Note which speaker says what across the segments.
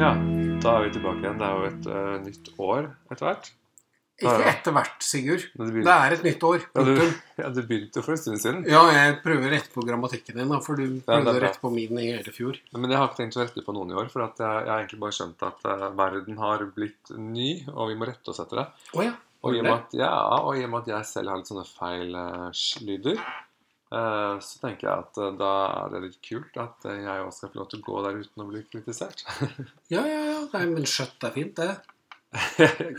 Speaker 1: da er vi tilbake igjen. Det er jo et eh, nytt år etter hvert. Ja,
Speaker 2: Ikke
Speaker 1: ja.
Speaker 2: etter hvert, Sigurd.
Speaker 1: Men det
Speaker 2: Det
Speaker 1: begynte,
Speaker 2: er et nytt år.
Speaker 1: ja, du,
Speaker 2: punktum.
Speaker 1: ja, det begynte for en stund siden.
Speaker 2: Ja, jeg prøver å rette på grammatikken din, da, for du
Speaker 1: er
Speaker 2: prøvde å
Speaker 1: bra.
Speaker 2: rette på min i hele fjor.
Speaker 1: Nei, Men jeg har ikke tenkt å rette på noen i år. For at eh, jeg, jeg har egentlig bare skjønt at eh, verden har blitt ny, og vi må rette oss etter det.
Speaker 2: Å ja.
Speaker 1: Og i og
Speaker 2: Var
Speaker 1: med
Speaker 2: det?
Speaker 1: at, ja, og i og med at jeg selv har litt sånne feil eh, lyder, eh, så tenker jeg at eh, da er det litt kult at eh, jeg også skal få lov til å gå der uten å bli kritisert.
Speaker 2: Ja, ja, ja. Nei, men skjøtt er fint, det.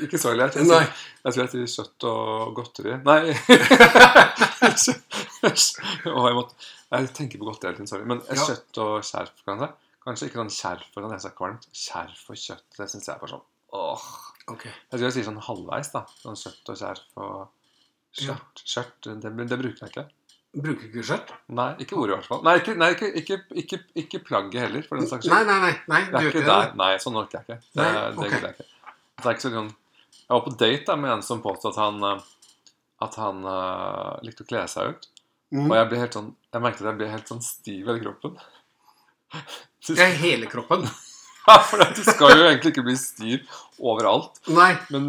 Speaker 1: ikke så lett. Jeg,
Speaker 2: Nei.
Speaker 1: sier- jeg tror jeg sier kjøtt og godteri. Nei Å, jeg, måtte, jeg tenker på godteri hele tiden, sorry. Men eh,
Speaker 2: Ja.
Speaker 1: kjøtt og skjerf, kanskje? Kanskje ikke sånn skjerf for at jeg er kvalmt. Skjerf og kjøtt, det syns jeg er bare sånn åh.
Speaker 2: Ok.
Speaker 1: Jeg tror jeg sier sånn halvveis, da. Sånn kjøtt og skjerf og
Speaker 2: Ja.
Speaker 1: skjørt. Skjørt, det, det bruker jeg ikke.
Speaker 2: Bruker ikke skjørt?
Speaker 1: Nei, ikke ordet i hvert fall. Nei, ikke, nei, ikke, ikke, ikke, ikke plagget heller, for den saks
Speaker 2: Nei,
Speaker 1: skyld.
Speaker 2: nei, nei. nei
Speaker 1: Det
Speaker 2: du
Speaker 1: er
Speaker 2: gjør
Speaker 1: ikke
Speaker 2: ikke
Speaker 1: der.
Speaker 2: det.
Speaker 1: Nei, sånn orker jeg ikke. Det,
Speaker 2: Nei,
Speaker 1: det
Speaker 2: ok.
Speaker 1: gidder jeg ikke. Det er ikke så sånn Jeg var på date da med en som påstod at han eh, At han eh, likte å kle seg ut.
Speaker 2: Mm.
Speaker 1: Og jeg ble helt sånn Jeg merket at jeg ble helt sånn stiv i hele kroppen. Du-
Speaker 2: Det er hele kroppen.
Speaker 1: Ja, for at du skal jo egentlig ikke bli stiv overalt.
Speaker 2: Nei.
Speaker 1: Men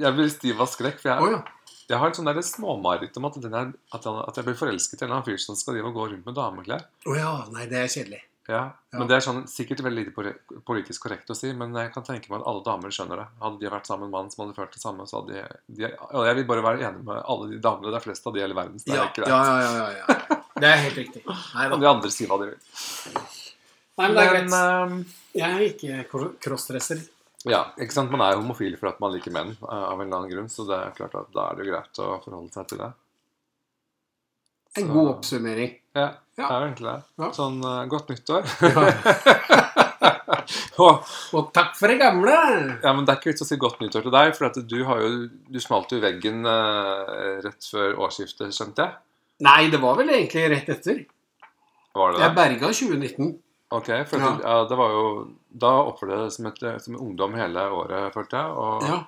Speaker 1: jeg blir stiv av skrekk. For
Speaker 2: Å
Speaker 1: jeg,
Speaker 2: ja.
Speaker 1: jeg har et sånn der småmareritt om at, den er, at, han, at jeg blir forelsket i en eller annen fyr som skal drive og gå rundt med dameklær.
Speaker 2: Å ja. Nei, det er kjedelig.
Speaker 1: Ja,
Speaker 2: Ja.
Speaker 1: men Det er sånn, sikkert veldig lite poli- politisk korrekt å si, men jeg kan tenke meg at alle damer skjønner det. Hadde de vært sammen med en mann som hadde følt det samme, så hadde de, de og Jeg vil bare være enig med alle de damene. Det er flest av de i hele verden. Så det
Speaker 2: Ja,
Speaker 1: er
Speaker 2: ja,
Speaker 1: ikke det.
Speaker 2: ja, ja, ja, ja. Det er helt riktig. Nei da.
Speaker 1: Kan de andre si hva de vil.
Speaker 2: Nei, men det er greit.
Speaker 1: ehm,
Speaker 2: Jeg er ikke kro- crossdresser.
Speaker 1: eh, ja, ikke sant? Man er jo homofil for at man liker menn, eh, av en eller annen grunn. Så det er klart at da er det jo greit å forholde seg til det.
Speaker 2: En
Speaker 1: Så-
Speaker 2: god oppsummering.
Speaker 1: Ja, det
Speaker 2: Ja.
Speaker 1: er jo egentlig det.
Speaker 2: Ja.
Speaker 1: Sånn eh, godt nyttår.
Speaker 2: Ja.
Speaker 1: og
Speaker 2: Og takk for det gamle!
Speaker 1: Ja, men Det er ikke vits å si godt nyttår til deg, for at du, har jo, du smalt jo i veggen eh, rett før årsskiftet, skjønte jeg?
Speaker 2: Nei, det var vel egentlig rett etter.
Speaker 1: Var det
Speaker 2: Jeg
Speaker 1: det?
Speaker 2: berga 2019.
Speaker 1: Ok, for at, ja. det var jo, Da oppførte jeg deg som, et- som en ungdom hele året, følte jeg. Og
Speaker 2: Ja.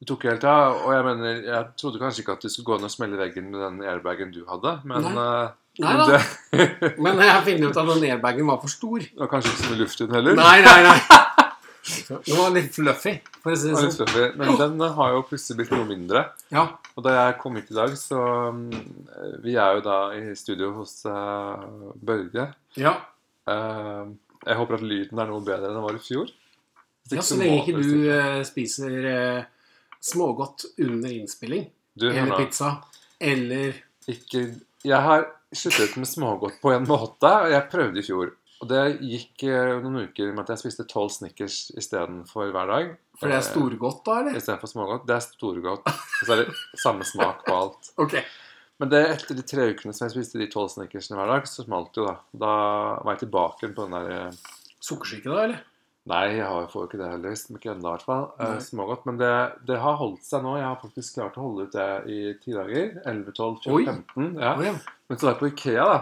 Speaker 1: du tok helt av. Og jeg mener, jeg trodde kanskje ikke at du skulle gå ned og smelle i veggen med den airbagen du hadde, men eh,
Speaker 2: Nei
Speaker 1: men
Speaker 2: da.
Speaker 1: det
Speaker 2: Men jeg har funnet ut at den airbagen var for stor.
Speaker 1: det var kanskje ikke så mye luft i den heller.
Speaker 2: Nei, nei, nei. Den var litt fluffy, for å si
Speaker 1: Det var
Speaker 2: det
Speaker 1: litt
Speaker 2: sånn.
Speaker 1: fluffy, Men den eh, har jo plutselig blitt noe mindre.
Speaker 2: Ja.
Speaker 1: Og da jeg kom hit i dag, så mm, Vi er jo da i studio hos eh, Børge.
Speaker 2: ja.
Speaker 1: Eh, jeg håper at lyden er noe bedre enn den var i fjor. Hvis
Speaker 2: ja
Speaker 1: ikke
Speaker 2: så
Speaker 1: må
Speaker 2: lenge ikke
Speaker 1: dere
Speaker 2: du
Speaker 1: si-
Speaker 2: eh, spiser eh, smågodt under innspilling,
Speaker 1: Du, hør
Speaker 2: eller
Speaker 1: nå.
Speaker 2: pizza, eller
Speaker 1: Ikke, jeg har sluttet med smågodt på en måte. og Jeg prøvde i fjor. Og det gikk eh, noen uker med at jeg spiste tolv Snickers istedenfor hver dag.
Speaker 2: For det
Speaker 1: Eh,
Speaker 2: er storgodt, da, eller?
Speaker 1: Istedenfor smågodt. Det er storgodt. Og så er det samme smak på alt.
Speaker 2: Ok.
Speaker 1: Men det, etter de tre ukene som jeg spiste de tolv Snickersene hver dag, så smalt det jo, da. Da var jeg tilbake på den der eh,
Speaker 2: Sukkersyke, da, eller?
Speaker 1: Nei, jeg har- får jo ikke det heller. som Ikke ennå, i hvert fall. Eh,
Speaker 2: Nei.
Speaker 1: Smågodt. Men det, det har holdt seg nå. Jeg har faktisk klart å holde ut det i ti dager. 11, 12, 20,
Speaker 2: Oi.
Speaker 1: 15. Ja.
Speaker 2: Å, ja.
Speaker 1: Men så var jeg på Ikea, da.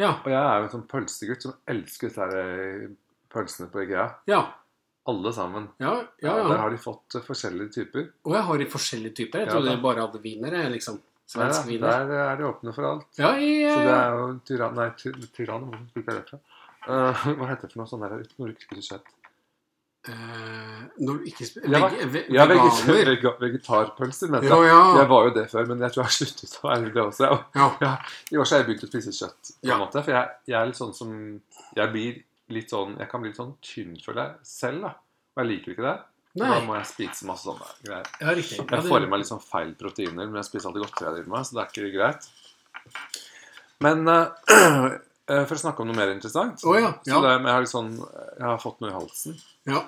Speaker 2: Ja.
Speaker 1: Og jeg er jo en sånn pølsegutt som elsker disse her, eh, pølsene på Ikea.
Speaker 2: Ja.
Speaker 1: Alle sammen.
Speaker 2: Ja, ja,
Speaker 1: Og Der
Speaker 2: ja.
Speaker 1: har de fått eh, forskjellige typer.
Speaker 2: Og jeg har de forskjellige typer. Jeg
Speaker 1: Ja,
Speaker 2: trodde
Speaker 1: da.
Speaker 2: jeg bare hadde wienere, liksom.
Speaker 1: Der,
Speaker 2: Svensk wiener.
Speaker 1: der er de åpne for alt.
Speaker 2: Ja, i,
Speaker 1: Så
Speaker 2: eh,
Speaker 1: det er jo en tyrann Nei, ty, tyrann. Hvor bruker jeg det fra? Eh, hva heter det for noe sånn der nordisk kjøtt?
Speaker 2: eh, når du ikke sp-
Speaker 1: Ja,
Speaker 2: veg, ve,
Speaker 1: Ja,
Speaker 2: veganer.
Speaker 1: veg, vegetarpølser, mente jeg.
Speaker 2: Ja, ja.
Speaker 1: Jeg var jo det før, men jeg tror jeg har sluttet å være det også. Jeg-
Speaker 2: ja.
Speaker 1: I år så har jeg begynt å spise kjøtt. på en
Speaker 2: Ja.
Speaker 1: måte, For jeg, jeg er litt sånn som Jeg blir litt sånn Jeg kan bli litt sånn tynn, føler jeg, selv. da Og jeg liker ikke det. Så
Speaker 2: Nei.
Speaker 1: Da må jeg spise masse sånne greier.
Speaker 2: Ja, riktig. Ja,
Speaker 1: Jeg
Speaker 2: det-
Speaker 1: får i meg litt sånn feil proteiner, men jeg spiser alltid godteri jeg driver med, så det er ikke greit. Men eh, eh, for å snakke om noe mer interessant
Speaker 2: Å ja, ja.
Speaker 1: Så det, men jeg, har litt sånn, jeg har fått noe i halsen.
Speaker 2: Ja.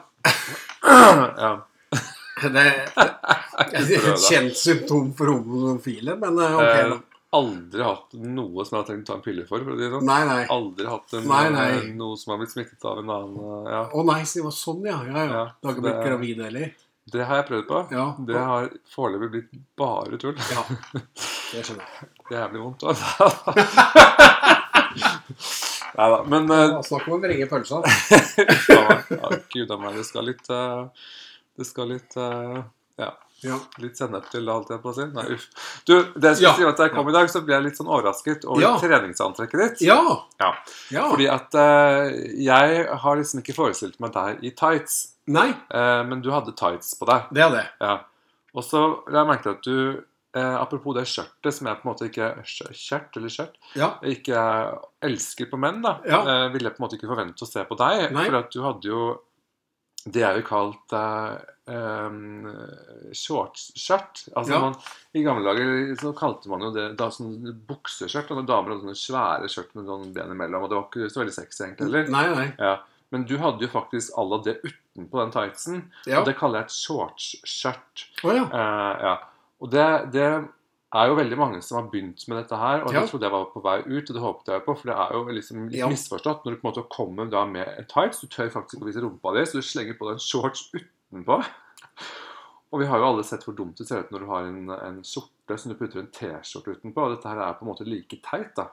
Speaker 1: ja.
Speaker 2: Det er
Speaker 1: prøv,
Speaker 2: et
Speaker 1: da.
Speaker 2: kjent symptom for homofile, men eh, ok, da.
Speaker 1: Eh, aldri hatt noe som jeg har trengt å ta en pille for. for å si det sånn.
Speaker 2: Nei, nei.
Speaker 1: Aldri hatt en,
Speaker 2: Nei, nei.
Speaker 1: eh, noe som har blitt smittet av en annen eh, ja.
Speaker 2: Å nei, så det var sånn, ja. ja, ja.
Speaker 1: Ja,
Speaker 2: Du har
Speaker 1: så
Speaker 2: ikke blitt
Speaker 1: det-
Speaker 2: gravid heller?
Speaker 1: Det har jeg prøvd på.
Speaker 2: Ja.
Speaker 1: Det har foreløpig blitt bare tull.
Speaker 2: ja. Det skjønner jeg.
Speaker 1: Jævlig vondt. Altså. Nei da. Men eh,
Speaker 2: Ja, Snakk om å vrenge pølsa.
Speaker 1: ja, ja, gud a meg, det skal litt eh, Det skal litt eh, ja,
Speaker 2: Ja.
Speaker 1: litt sennep til, holdt jeg på å si. Nei, uff. Du, det jeg skulle
Speaker 2: Ja.
Speaker 1: si var at da jeg kom i dag, så ble jeg litt sånn overrasket over
Speaker 2: Ja.
Speaker 1: treningsantrekket ditt.
Speaker 2: Ja.
Speaker 1: Ja.
Speaker 2: ja.
Speaker 1: Fordi at eh, jeg har liksom ikke forestilt meg deg i tights.
Speaker 2: Nei,
Speaker 1: Eh, men du hadde tights på deg.
Speaker 2: det er det.
Speaker 1: Ja. Og så la jeg merke til at du eh, Apropos det skjørtet som jeg på en måte ikke skjø- Skjørt eller skjørt?
Speaker 2: Ja.
Speaker 1: Ikke elsker på menn, da.
Speaker 2: Ja.
Speaker 1: Eh, ville jeg på en måte ikke forvente å se på deg.
Speaker 2: Nei.
Speaker 1: For at du hadde jo det jeg vil kalt eh, eh, shortsskjørt. Altså
Speaker 2: Ja.
Speaker 1: man, I gamle dager så kalte man jo det da sånn bukseskjørt. Og damer hadde sånne svære skjørt med sånn ben imellom. Og det var ikke så veldig sexy egentlig heller.
Speaker 2: Nei, nei.
Speaker 1: Ja. Men du hadde jo faktisk à la det utenpå den tightsen.
Speaker 2: Ja.
Speaker 1: Og det kaller jeg et shortsskjørt.
Speaker 2: Å ja.
Speaker 1: Eh, ja. Og det, det er jo veldig mange som har begynt med dette her, og
Speaker 2: Ja.
Speaker 1: jeg trodde jeg var på vei ut, og det håpet jeg jo på, for det er jo liksom litt
Speaker 2: Ja.
Speaker 1: misforstått når du på en måte kommer da med en tights, du tør faktisk ikke å vise rumpa di, så du slenger på deg en shorts utenpå. Og vi har jo alle sett hvor dumt det ser ut når du har en, en skjorte som du putter en T-skjorte utenpå, og dette her er på en måte like teit, da.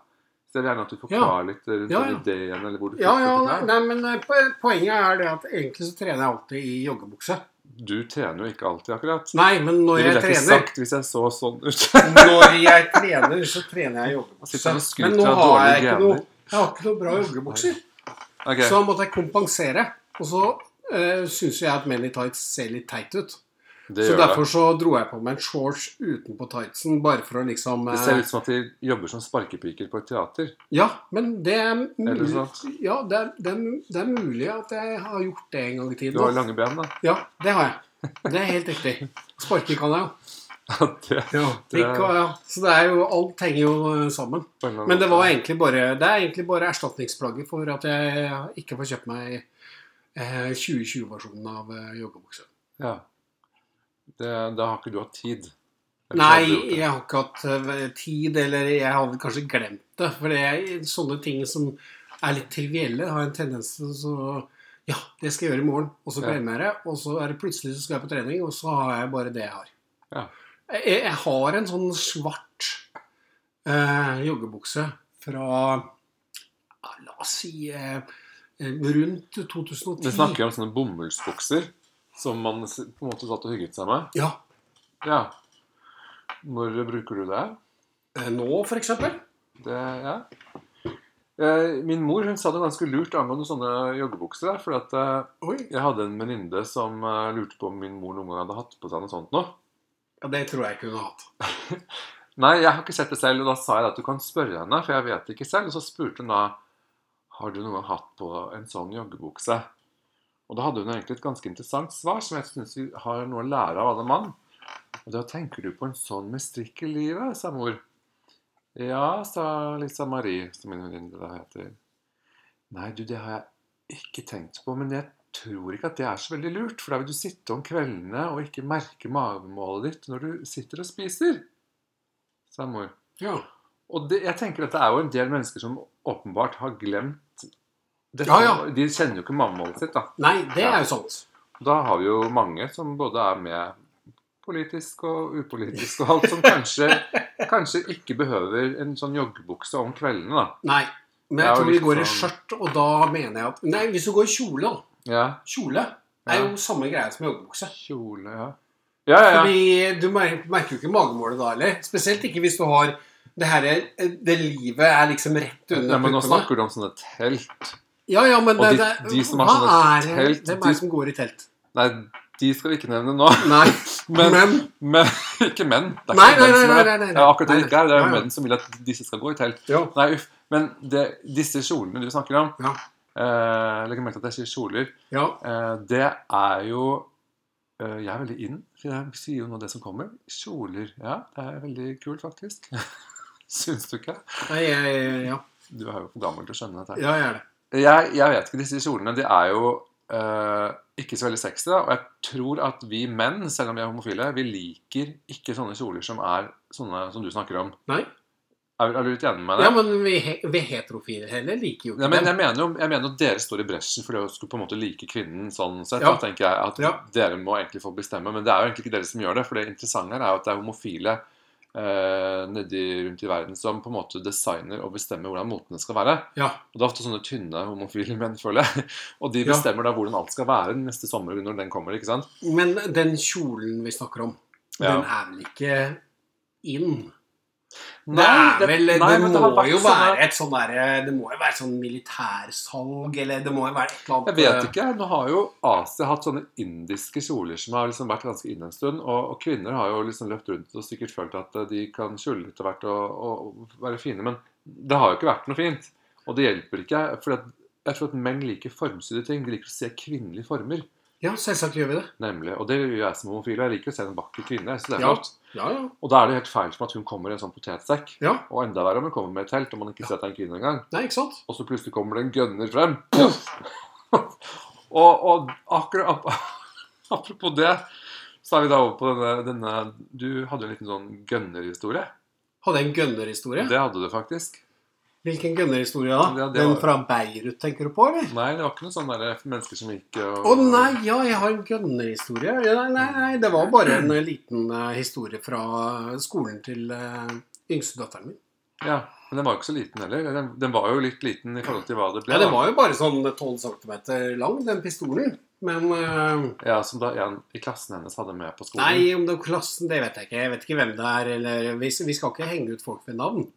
Speaker 1: Så jeg vil gjerne at du forklarer litt eh, rundt
Speaker 2: Ja,
Speaker 1: den
Speaker 2: ja.
Speaker 1: ideen, eller hvor du
Speaker 2: Ja,
Speaker 1: fikk
Speaker 2: ja,
Speaker 1: dette her.
Speaker 2: nei, men eh, po- poenget er det at egentlig så trener jeg alltid i joggebukse.
Speaker 1: Du trener jo ikke alltid, akkurat.
Speaker 2: Nei, men
Speaker 1: Det
Speaker 2: når
Speaker 1: ville
Speaker 2: jeg
Speaker 1: jeg ikke
Speaker 2: trener
Speaker 1: sagt hvis jeg så sånn ut.
Speaker 2: Når jeg trener, så trener jeg i
Speaker 1: Sitter han og
Speaker 2: joggebukse.
Speaker 1: skryter
Speaker 2: Men nå
Speaker 1: av
Speaker 2: har jeg
Speaker 1: dårlige
Speaker 2: ikke noe
Speaker 1: gener?
Speaker 2: Jeg har ikke noe bra joggebukser.
Speaker 1: Ok.
Speaker 2: Så da måtte jeg kompensere. Og så uh, syns jeg at menn i tights ser litt teit ut.
Speaker 1: Det
Speaker 2: så
Speaker 1: gjør det.
Speaker 2: derfor så dro jeg på meg en shorts utenpå tightsen, bare for å liksom
Speaker 1: Det
Speaker 2: eh,
Speaker 1: ser ut som at de jobber som sparkepiker på et teater.
Speaker 2: Ja, men det er
Speaker 1: Eller
Speaker 2: mulig,
Speaker 1: sånt.
Speaker 2: ja, det er, det, er, det er mulig at jeg har gjort det en gang i
Speaker 1: Du har
Speaker 2: tiden.
Speaker 1: lange ben, da.
Speaker 2: Ja, det har jeg. Det er helt riktig. Sparke kan jeg jo.
Speaker 1: det,
Speaker 2: Ja,
Speaker 1: det-
Speaker 2: pikk og, ja. Så det er jo, alt henger jo eh, sammen.
Speaker 1: på en eller annen
Speaker 2: Men det,
Speaker 1: måte.
Speaker 2: var egentlig bare, det er egentlig bare erstatningsplagget for at jeg ikke får kjøpt meg eh, 2020-versjonen av eh, joggebukse.
Speaker 1: ja. det, Da har ikke du hatt tid. Eller så har du gjort
Speaker 2: Nei,
Speaker 1: det.
Speaker 2: jeg har ikke hatt eh, tid, eller jeg har vel kanskje glemt det. For det er sånne ting som er litt trivielle, har en tendens til å så- Ja, det skal jeg gjøre i morgen. Og så
Speaker 1: Ja.
Speaker 2: glemmer jeg det. Og så er det plutselig så skal jeg på trening, og så har jeg bare det jeg har.
Speaker 1: Ja.
Speaker 2: Jeg, jeg har en sånn svart eh, joggebukse fra ja, La oss si eh, rundt 2010.
Speaker 1: Vi snakker om sånne bomullsbukser som man s- på en måte satt og hygget seg med.
Speaker 2: Ja.
Speaker 1: Ja. Når bruker du det?
Speaker 2: eh, Nå, for eksempel.
Speaker 1: Det, ja. Eh, Min mor hun sa det ganske lurt angående sånne joggebukser. der, Fordi at eh,
Speaker 2: Oi.
Speaker 1: jeg hadde en venninne som eh, lurte på om min mor noen gang hadde hatt på seg noe sånt nå.
Speaker 2: Ja, det tror jeg ikke hun har hatt.
Speaker 1: Nei, jeg har ikke sett det selv, og da sa jeg at du kan spørre henne, for jeg vet ikke selv. Og så spurte hun da har du noen gang hatt på en sånn joggebukse. Og da hadde hun egentlig et ganske interessant svar, som jeg syns vi har noe å lære av alle mann. Og da tenker du på en sånn med strikk i livet, sa mor. Ja, sa Lisa Marie, som min venninne da heter. Nei, du, det har jeg ikke tenkt på, men jeg tror ikke at det er så veldig lurt, for da vil du sitte om kveldene og ikke merke magemålet ditt når du sitter og spiser, sa mor.
Speaker 2: Ja.
Speaker 1: Og det, jeg tenker at det er jo en del mennesker som åpenbart har glemt dette.
Speaker 2: Ja, ja.
Speaker 1: De kjenner jo ikke mammamålet sitt, da.
Speaker 2: Nei, det
Speaker 1: Ja.
Speaker 2: er jo sant.
Speaker 1: Da har vi jo mange som både er med politisk og upolitisk og alt, som kanskje, kanskje ikke behøver en sånn joggebukse om kveldene, da.
Speaker 2: Nei, men
Speaker 1: Det er
Speaker 2: jeg
Speaker 1: jo
Speaker 2: tror vi
Speaker 1: litt
Speaker 2: går i
Speaker 1: sånn-
Speaker 2: skjørt, og da mener jeg at Nei, hvis du går i kjole, da.
Speaker 1: Ja.
Speaker 2: Kjole er jo samme greie som joggebukse.
Speaker 1: Kjole, ja. Ja, ja, ja.
Speaker 2: Fordi du mer- merker jo ikke magemålet da heller. Spesielt ikke hvis du har det her eh, Det livet er liksom rett under
Speaker 1: Nei, men nå
Speaker 2: puppene.
Speaker 1: snakker du om sånne telt.
Speaker 2: Ja, ja, men
Speaker 1: Og
Speaker 2: det,
Speaker 1: de-
Speaker 2: det,
Speaker 1: de som har
Speaker 2: hva
Speaker 1: sånne
Speaker 2: er
Speaker 1: telt,
Speaker 2: Hvem
Speaker 1: de-
Speaker 2: er det som går i telt?
Speaker 1: Nei, de skal vi ikke nevne nå.
Speaker 2: Nei, men,
Speaker 1: Men, men ikke menn. Det er
Speaker 2: Nei,
Speaker 1: ikke
Speaker 2: nei,
Speaker 1: menn som
Speaker 2: nei,
Speaker 1: er-
Speaker 2: nei, nei, nei.
Speaker 1: Det er akkurat det
Speaker 2: Nei,
Speaker 1: det ikke er. Det er
Speaker 2: nei, nei.
Speaker 1: menn som vil at disse skal gå i telt.
Speaker 2: ja.
Speaker 1: Nei, uff. Men det, disse kjolene du snakker om
Speaker 2: Ja.
Speaker 1: eh, Legg merke til at jeg sier kjoler.
Speaker 2: ja.
Speaker 1: Eh, det er jo eh, Jeg er veldig in, for jeg sier jo nå det som kommer. Kjoler. Ja, det er veldig kult, faktisk. Syns du ikke?
Speaker 2: Nei, jeg, ja.
Speaker 1: Du er jo for gammel til å skjønne dette. her.
Speaker 2: ja, jeg er det.
Speaker 1: Jeg, jeg vet ikke. Disse kjolene de er jo eh, ikke så veldig sexy. da, Og jeg tror at vi menn, selv om vi er homofile, vi liker ikke sånne kjoler som er sånne som du snakker om.
Speaker 2: Nei.
Speaker 1: Er, er du litt enig med det?
Speaker 2: Ja, men vi, he- vi heterofile heller liker jo
Speaker 1: Ja,
Speaker 2: ikke
Speaker 1: men
Speaker 2: det.
Speaker 1: jeg mener, jo, jeg mener at dere står i bresjen for det å skulle på en måte like kvinnen sånn sett.
Speaker 2: Ja.
Speaker 1: Da tenker jeg at
Speaker 2: Ja.
Speaker 1: dere må egentlig få bestemme, men det er jo egentlig ikke dere som gjør det. For det interessante her er jo at det er homofile eh, nedi rundt i verden som på en måte designer og bestemmer hvordan motene skal være.
Speaker 2: Ja.
Speaker 1: Og det er ofte sånne tynne homofile menn, føler jeg. Og de
Speaker 2: Ja.
Speaker 1: bestemmer da hvordan alt skal være neste sommer når den kommer, ikke sant?
Speaker 2: Men den kjolen vi snakker om,
Speaker 1: Ja.
Speaker 2: den er vel ikke in? Det er vel, det,
Speaker 1: nei, men
Speaker 2: må
Speaker 1: har vært
Speaker 2: jo
Speaker 1: sånne-
Speaker 2: være et sånn derre- Det må jo være sånn militærsalg, eller det må jo være et eller annet
Speaker 1: Jeg vet ikke. Nå har jo Asia hatt sånne indiske kjoler som har liksom vært ganske inne en stund. Og, og kvinner har jo liksom løpt rundt og sikkert følt at eh, de kan kjole litt av hvert og, og være fine. Men det har jo ikke vært noe fint. Og det hjelper ikke. For at, jeg tror at menn liker formsydde ting. De liker å se kvinnelige former.
Speaker 2: Ja, selvsagt gjør vi det.
Speaker 1: nemlig. Og det gjør jeg som homofil. og Jeg liker å se en vakker kvinne. Så det er
Speaker 2: Ja.
Speaker 1: flott.
Speaker 2: Ja, ja.
Speaker 1: Og da er det helt feil som at hun kommer i en sånn potetsekk.
Speaker 2: ja.
Speaker 1: Og enda verre om hun kommer med et telt og man ikke
Speaker 2: Ja.
Speaker 1: ser at det er en kvinne engang.
Speaker 2: Nei, ikke sant?
Speaker 1: Og så plutselig kommer det en gønner frem. og, og akkurat ap- Apropos det, så er vi da over på denne, denne Du hadde jo en liten sånn gønnerhistorie.
Speaker 2: Hadde jeg en gønnerhistorie?
Speaker 1: Det hadde du faktisk.
Speaker 2: Hvilken gønnerhistorie da?
Speaker 1: Ja, det
Speaker 2: Den
Speaker 1: var-
Speaker 2: fra Beirut, tenker du på, eller?
Speaker 1: Nei, det var ikke noen sånne der eh, mennesker som gikk og
Speaker 2: Å nei, ja, jeg har en gønnerhistorie. Ja, Nei, nei, nei, det var bare en eh, liten eh, historie fra skolen til uh, yngstedatteren min.
Speaker 1: Ja, Men den var jo ikke så liten heller. Den, den var jo litt liten i forhold til hva det ble.
Speaker 2: Ja, den
Speaker 1: da.
Speaker 2: var jo bare sånn 12 cm lang, den pistolen. Men eh,
Speaker 1: ja, Som da en i klassen hennes hadde med på skolen.
Speaker 2: Nei, om det er klassen, det vet jeg ikke. Jeg vet ikke hvem det er, eller Vi, vi skal ikke henge ut folk ved navn.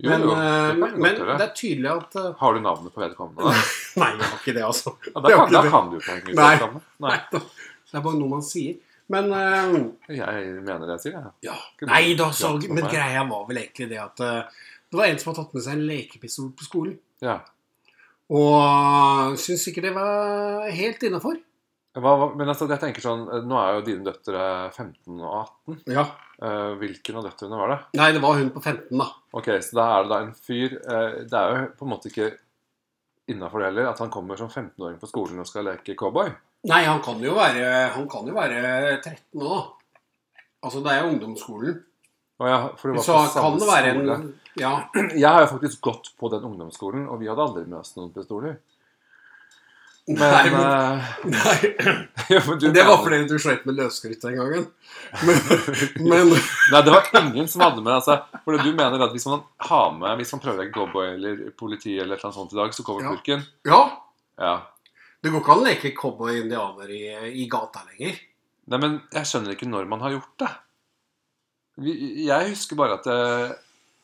Speaker 1: jo,
Speaker 2: men,
Speaker 1: jo,
Speaker 2: eh,
Speaker 1: det kan vi
Speaker 2: men,
Speaker 1: godt
Speaker 2: men
Speaker 1: gjøre.
Speaker 2: det er tydelig at eh,
Speaker 1: Har du navnet på vedkommende? da?
Speaker 2: Nei, jeg har ikke det, altså.
Speaker 1: Ja,
Speaker 2: Det
Speaker 1: da,
Speaker 2: var
Speaker 1: kan,
Speaker 2: ikke
Speaker 1: da
Speaker 2: det.
Speaker 1: kan du jo ikke henge ut
Speaker 2: Nei.
Speaker 1: vedkommende.
Speaker 2: Nei. Det er bare noe man sier. Men eh,
Speaker 1: Jeg mener det jeg sier, jeg.
Speaker 2: ja. Nei da, så, men greia var vel egentlig det at eh, det var en som hadde tatt med seg en lekepistol på skolen.
Speaker 1: Ja.
Speaker 2: Og syns ikke det var helt innafor.
Speaker 1: Hva, hva- men altså, jeg tenker sånn, eh, Nå er jo dine døtre 15 og 18.
Speaker 2: Ja.
Speaker 1: Eh, hvilken av døtrene var det?
Speaker 2: Nei, det var hun på 15, da.
Speaker 1: Ok, Så da er det da en fyr eh, Det er jo på en måte ikke innafor det heller at han kommer som 15-åring på skolen og skal leke cowboy.
Speaker 2: Nei, han kan jo være, han kan jo være 13 nå, da. Altså, det er jo ungdomsskolen.
Speaker 1: Og jeg, for det var
Speaker 2: Så
Speaker 1: på samme
Speaker 2: kan det være
Speaker 1: skole.
Speaker 2: en Ja.
Speaker 1: Jeg har jo faktisk gått på den ungdomsskolen, og vi hadde aldri med oss noen pistoler. Men,
Speaker 2: Nei, men,
Speaker 1: eh,
Speaker 2: nei,
Speaker 1: ja, men du
Speaker 2: det
Speaker 1: mener-
Speaker 2: var fordi du sleit med løsskritt den gangen. Men, men
Speaker 1: Nei, det var ingen som hadde med altså, For du mener at hvis man har med Hvis man prøver å leke cowboy eller politi eller et eller annet sånt i dag, så kommer
Speaker 2: Ja.
Speaker 1: purken?
Speaker 2: Ja.
Speaker 1: Ja.
Speaker 2: Det går ikke an å leke cowboy og indianer i, i gata lenger.
Speaker 1: Nei, men jeg skjønner ikke når man har gjort det. Vi, jeg husker bare at eh,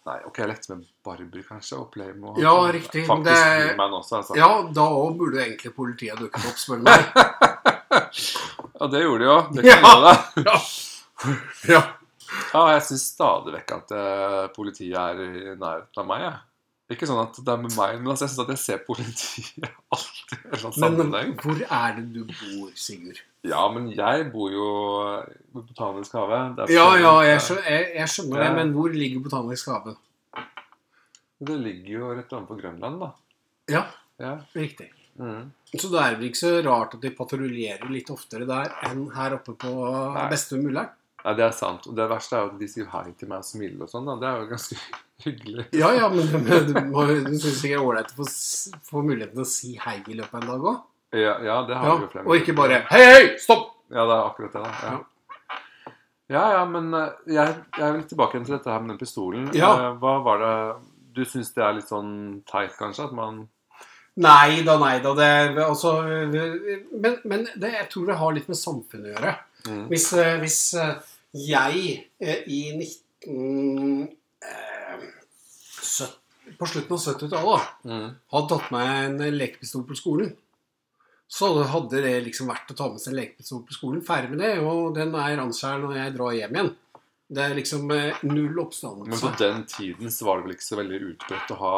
Speaker 1: Nei, ok, jeg lekte med Barbie, kanskje, og Playmo. og
Speaker 2: Ja,
Speaker 1: sånn.
Speaker 2: riktig, men
Speaker 1: Faktisk
Speaker 2: det-
Speaker 1: He-Man også, altså.
Speaker 2: Ja, da òg burde egentlig politiet dukket opp, spør du meg.
Speaker 1: Og det gjorde de jo. Det kan
Speaker 2: Ja.
Speaker 1: jeg love deg.
Speaker 2: Ja.
Speaker 1: Ja, jeg syns stadig vekk at eh, politiet er i nærheten av meg, jeg. Ikke sånn at det er med meg, men altså, jeg syns at jeg ser politiet alltid i en eller annen
Speaker 2: Men
Speaker 1: sammenheng.
Speaker 2: hvor er det du bor, Sigurd?
Speaker 1: Ja, men jeg bor jo eh, ved Botanisk hage. Det er
Speaker 2: Ja, ja,
Speaker 1: sånn,
Speaker 2: jeg
Speaker 1: eh,
Speaker 2: skjønner, jeg, jeg skjønner det, men hvor ligger Botanisk hage?
Speaker 1: Det ligger jo rett ovenfor Grønland, da.
Speaker 2: Ja,
Speaker 1: Ja.
Speaker 2: riktig.
Speaker 1: Mm.
Speaker 2: Så det er vel ikke så rart at de patruljerer litt oftere der enn her oppe på
Speaker 1: Nei.
Speaker 2: beste mulleren?
Speaker 1: Nei, det er sant. Og det verste er jo at de sier hei til meg og smiler og sånn. da. Det er jo ganske hyggelig.
Speaker 2: Ja, ja, men men du, må- du syns ikke det er ålreit å få s- få muligheten til å si hei i løpet av en dag òg?
Speaker 1: Ja, ja det har
Speaker 2: Ja,
Speaker 1: vi jo flere
Speaker 2: og ikke bare Hei, hei, stopp!
Speaker 1: Ja, det er akkurat det. da. Ja. Ja, ja, men eh, jeg, jeg vil tilbake igjen til dette her med den pistolen.
Speaker 2: Ja.
Speaker 1: Eh, Hva var det Du syns det er litt sånn teit, kanskje? At man
Speaker 2: Nei da, nei da. Det er altså Men, men det, jeg tror det har litt med samfunnet å gjøre.
Speaker 1: mm.
Speaker 2: Hvis, eh, hvis eh, jeg eh, i 19... eh, søt- På slutten av 70-tallet da,
Speaker 1: Mm.
Speaker 2: hadde tatt meg en lekepistol på skolen, så hadde det liksom vært å ta med seg en lekepistol på skolen. Ferdig med det, og den er ranskjær når jeg drar hjem igjen. Det er liksom eh, null
Speaker 1: Men på
Speaker 2: oppstandelse.
Speaker 1: den tiden så var det vel ikke så veldig utbredt å ha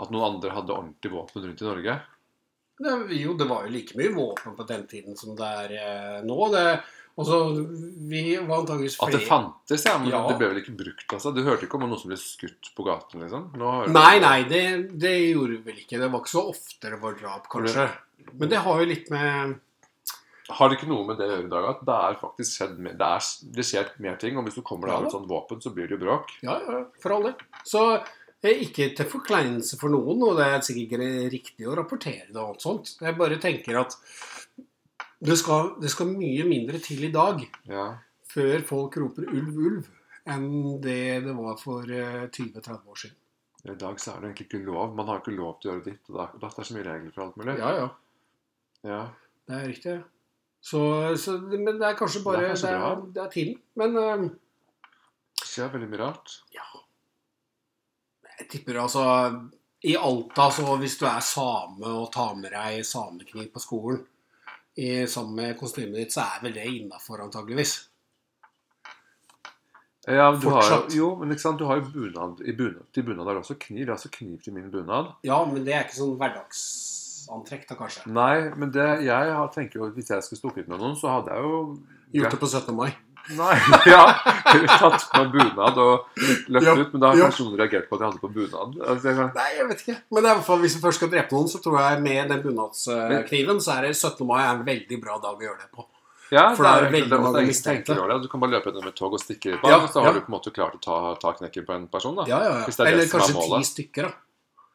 Speaker 1: at noen andre hadde ordentlig våpen rundt i Norge?
Speaker 2: Det, jo, det var jo like mye våpen på den tiden som det er eh, nå. Det, altså, vi var antakeligvis
Speaker 1: At det
Speaker 2: flere
Speaker 1: fantes, ja, men
Speaker 2: Ja.
Speaker 1: det ble vel ikke brukt? altså. Du hørte ikke om noen som ble skutt på gaten? liksom? Nå hører du-
Speaker 2: Nei, nei, det, det gjorde vi vel ikke. Det var ikke så ofte det var drap, kanskje. Men det har jo litt med
Speaker 1: Har det ikke noe med det å gjøre i dag at det er faktisk skjedd mer, det, er, det skjer mer ting? Og hvis du kommer deg
Speaker 2: Ja
Speaker 1: av
Speaker 2: da.
Speaker 1: et sånt våpen, så blir det jo bråk.
Speaker 2: Ja, ja, for alle. Så eh, ikke til forkleinelse for noen, og det er sikkert ikke riktig å rapportere det og alt sånt. Jeg bare tenker at det skal, det skal mye mindre til i dag
Speaker 1: Ja.
Speaker 2: før folk roper ulv, ulv, enn det det var for eh, 20-30 år siden.
Speaker 1: I dag så er det egentlig ikke lov. Man har ikke lov til å gjøre ditt og datt. Det er så mye regler for alt mulig.
Speaker 2: Ja, ja.
Speaker 1: Ja.
Speaker 2: Det er riktig. Så, så, men det er kanskje
Speaker 1: Det
Speaker 2: bare
Speaker 1: er kanskje
Speaker 2: det er,
Speaker 1: bra.
Speaker 2: det er tiden. Men eh,
Speaker 1: Det skjer veldig mye rart.
Speaker 2: ja. Jeg tipper altså I Alta, så hvis du er same og tar med deg samekniv på skolen i, sammen med kostymet ditt, så er vel det innafor, antageligvis.
Speaker 1: Ja, men du har jo,
Speaker 2: Fortsatt.
Speaker 1: jo, men ikke sant, du har jo bunad, i bunad Til bunad har du også kniv. Jeg har også kniv til min bunad.
Speaker 2: Ja, men det er ikke sånn hverdagsantrekk, da, kanskje.
Speaker 1: Nei, men det jeg har- tenker jo at hvis jeg skulle stukket med noen, så hadde jeg jo
Speaker 2: Gjort det på 17. mai.
Speaker 1: Nei, ja. Eller tatt på en bunad og løpt
Speaker 2: Ja,
Speaker 1: ut. Men da har
Speaker 2: ja.
Speaker 1: kanskje noen reagert på at jeg hadde på bunad. Altså, jeg, kan-
Speaker 2: Nei, jeg vet ikke. Men det er i hvert fall, hvis du først skal drepe noen, så tror jeg med den bunadskniven, så er det 17. mai er en veldig bra dag å gjøre det på.
Speaker 1: ja,
Speaker 2: For det er jo
Speaker 1: egentlig
Speaker 2: veldig
Speaker 1: det, og
Speaker 2: mange
Speaker 1: det er-
Speaker 2: mistenkte.
Speaker 1: tenker over det, Du kan bare løpe gjennom et tog og stikke i et
Speaker 2: Ja,
Speaker 1: barn, så har
Speaker 2: ja.
Speaker 1: du på en måte klart å ta, ta knekken på en person. da.
Speaker 2: Ja, ja,
Speaker 1: Hvis det er
Speaker 2: ja.
Speaker 1: det
Speaker 2: Eller
Speaker 1: som er
Speaker 2: kanskje ti
Speaker 1: målet.
Speaker 2: stykker, da.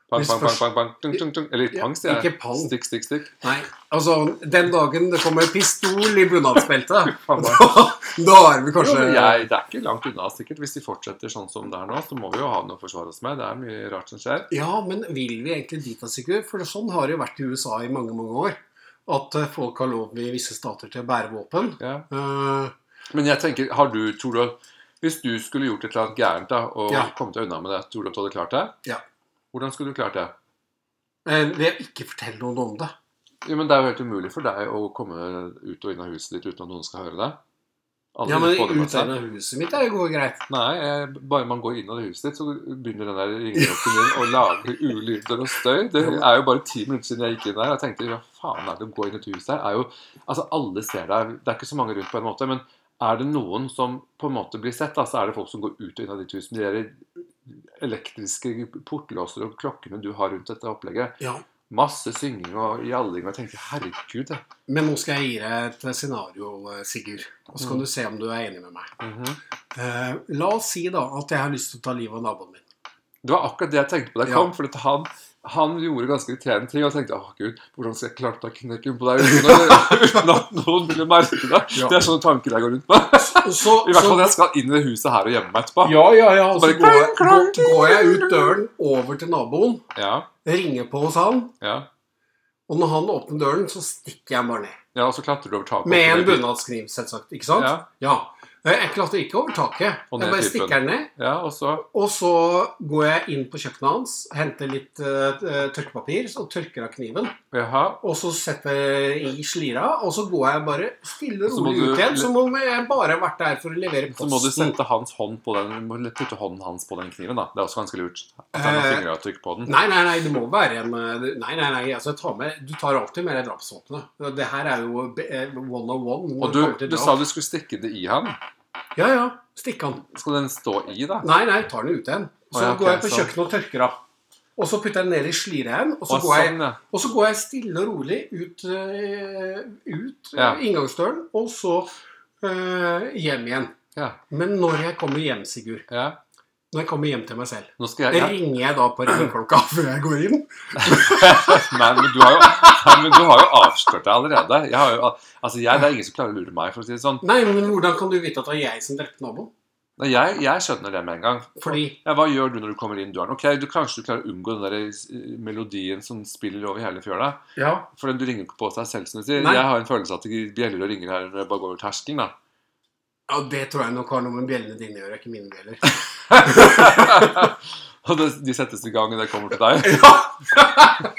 Speaker 1: Pang,
Speaker 2: Hvis
Speaker 1: pang, pang,
Speaker 2: først-
Speaker 1: pang, pang, tung, tung, tung. Eller
Speaker 2: Ja,
Speaker 1: pang, sier jeg.
Speaker 2: ikke pang.
Speaker 1: Stikk, stikk, stikk.
Speaker 2: Nei, altså, den dagen det kommer pistol i bunadsbeltet,
Speaker 1: Faen,
Speaker 2: da, da er vi
Speaker 1: Jo,
Speaker 2: kanskje
Speaker 1: men jeg, det er ikke langt unna, sikkert. Hvis de fortsetter sånn som det er nå, så må vi jo ha noe å forsvare oss med. Det er mye rart som skjer.
Speaker 2: Ja, men vil vi egentlig dit, da, Sigurd? For sånn har det jo vært i USA i mange, mange år. At eh, folk har lov i visse stater til å bære våpen.
Speaker 1: Ja.
Speaker 2: Eh,
Speaker 1: Men jeg tenker, har du, tror du at Hvis du skulle gjort et eller annet gærent da, og
Speaker 2: Ja.
Speaker 1: kommet deg unna med det, tror du at du hadde klart det?
Speaker 2: Ja.
Speaker 1: Hvordan skulle du klart det?
Speaker 2: eh, ved å ikke fortelle noen om det.
Speaker 1: Jo, men Det er jo helt umulig for deg å komme ut og inn av huset ditt uten at noen skal høre det. Alle
Speaker 2: Ja, men
Speaker 1: får det med seg.
Speaker 2: utseende av huset mitt er jo går greit.
Speaker 1: Nei, eh, bare man går inn av det huset ditt, så begynner den der ringeklokken din å lage ulyder og støy. Det er jo bare ti minutter siden jeg gikk inn der. Jeg tenkte hva faen er det å gå inn i et hus her? Er jo, altså, alle ser deg. Det er ikke så mange rundt på en måte. Men er det noen som på en måte blir sett, da, så er det folk som går ut og inn av ditt hus med de der elektriske portlåser og klokkene du har rundt dette opplegget.
Speaker 2: Ja,
Speaker 1: Masse synging og jalling. Og jeg tenkte herregud, jeg.
Speaker 2: Men nå skal jeg gi deg et scenario, eh, Sigurd. Og så kan
Speaker 1: Mm.
Speaker 2: du se om du er enig med meg.
Speaker 1: Mhm.
Speaker 2: Eh, la oss si da at jeg har lyst til å ta livet av naboen min.
Speaker 1: Det var akkurat det jeg tenkte på da jeg
Speaker 2: Ja.
Speaker 1: kom. For at han, han gjorde ganske irriterende ting. Og jeg tenkte åh gud, hvordan skal jeg klare å ta knekken på deg uten, å, uten at noen ville merke det?
Speaker 2: Ja.
Speaker 1: Det er sånne tanker jeg går rundt med.
Speaker 2: Så, så-
Speaker 1: I hvert fall når jeg skal inn i det huset her og gjemme meg etterpå.
Speaker 2: Ja, ja, ja. Og
Speaker 1: Så bare
Speaker 2: så går jeg,
Speaker 1: klang,
Speaker 2: går, går jeg ut døren over til naboen,
Speaker 1: Ja,
Speaker 2: ringer på hos han,
Speaker 1: ja.
Speaker 2: og når han åpner døren, så stikker jeg bare ned.
Speaker 1: ja og så klatrer du over taket.
Speaker 2: Med en
Speaker 1: og-
Speaker 2: bunadskniv, selvsagt. Ikke sant?
Speaker 1: Ja,
Speaker 2: Ja. Eh, Jeg klatrer ikke over taket.
Speaker 1: Og
Speaker 2: Jeg
Speaker 1: ned
Speaker 2: bare
Speaker 1: typen.
Speaker 2: stikker den ned.
Speaker 1: ja, og så
Speaker 2: Og så går jeg inn på kjøkkenet hans, henter litt eh, tørkepapir og tørker av kniven.
Speaker 1: Jaha.
Speaker 2: Og så setter jeg i slira, og så går jeg bare stille og
Speaker 1: Så må
Speaker 2: rolig
Speaker 1: du-
Speaker 2: ut igjen. Som om jeg bare har vært der for å levere
Speaker 1: Så må du
Speaker 2: posten.
Speaker 1: sette hans hånd på den, må putte hånden hans på den kniven. da Det er også ganske lurt. At han har
Speaker 2: Eh,
Speaker 1: fingeravtrykk på den.
Speaker 2: Nei, nei, nei, det må være en eh, Nei, nei, nei, altså jeg tar med, du tar alltid med deg drapsvåpenet. Det her er jo eh, one on one. når
Speaker 1: Og
Speaker 2: det
Speaker 1: du,
Speaker 2: kommer til
Speaker 1: du
Speaker 2: drap.
Speaker 1: sa du skulle stikke det i han.
Speaker 2: Ja, ja. Stikk han.
Speaker 1: Skal den stå i, da?
Speaker 2: Nei, nei, tar den ut igjen. Så
Speaker 1: Altså. Å, ja, ok,
Speaker 2: går jeg på
Speaker 1: så-
Speaker 2: kjøkkenet og tørker av. Og så putter jeg den ned i slira igjen, og så,
Speaker 1: Å,
Speaker 2: går jeg,
Speaker 1: sånn, ja.
Speaker 2: og så går jeg stille og rolig ut, eh, ut eh,
Speaker 1: Ja.
Speaker 2: inngangsdøren, og så eh, hjem igjen.
Speaker 1: Ja,
Speaker 2: Men når jeg kommer hjem, Sigurd,
Speaker 1: ja.
Speaker 2: når jeg kommer hjem til meg selv,
Speaker 1: Nå skal jeg, jeg
Speaker 2: ringer jeg da på ringeklokka før jeg går inn?
Speaker 1: Nei, men du har jo, nei, men du har jo avslørt deg allerede. Jeg har jo, altså jeg, det er ingen som klarer å lure meg, for å si det sånn.
Speaker 2: Nei, men hvordan kan du vite at det var jeg som drepte naboen?
Speaker 1: Nei, jeg, jeg skjønner det med en gang.
Speaker 2: Fordi
Speaker 1: Ja, hva gjør du når du kommer inn døren? Ok, du Kanskje du klarer å unngå den der eh, melodien som spiller over hele fjøla.
Speaker 2: Ja.
Speaker 1: For du ringer ikke på seg selv, som du sier.
Speaker 2: Nei.
Speaker 1: Jeg har en følelse av at det bjeller og ringer her når jeg bare går over terskelen, da.
Speaker 2: det tror jeg nok har noe med bjellene dine å gjøre, ikke mine bjeller.
Speaker 1: og det, de settes i gang, og det kommer til deg.
Speaker 2: Ja!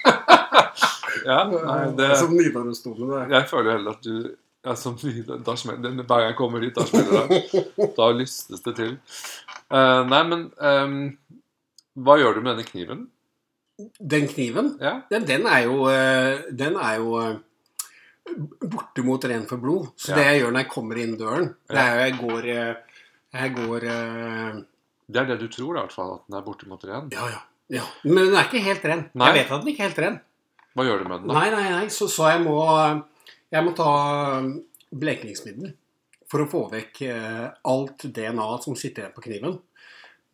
Speaker 1: Ja, nei, det,
Speaker 2: Som Nidarosdomen der.
Speaker 1: jeg føler heller at du ja, som, da smeller, Hver gang jeg kommer hit, da smeller det. Da lystes det til. Eh, nei, men ehm, Hva gjør du med denne kniven?
Speaker 2: Den kniven,
Speaker 1: Ja.
Speaker 2: den, den er jo, eh, den er jo eh, bortimot ren for blod. Så
Speaker 1: Ja.
Speaker 2: det jeg gjør når jeg kommer inn døren, det
Speaker 1: Ja.
Speaker 2: er jo jeg går eh, Jeg går eh,
Speaker 1: Det er det du tror, da, i hvert fall. At den er bortimot ren.
Speaker 2: Ja, ja. ja. Men den er ikke helt ren.
Speaker 1: Nei.
Speaker 2: Jeg vet at den ikke er helt ren.
Speaker 1: Hva gjør du med den, da?
Speaker 2: Nei, nei, nei. Så, så jeg må Jeg må ta eh, blekningsmiddel for å få vekk eh, alt DNA som sitter igjen på kniven.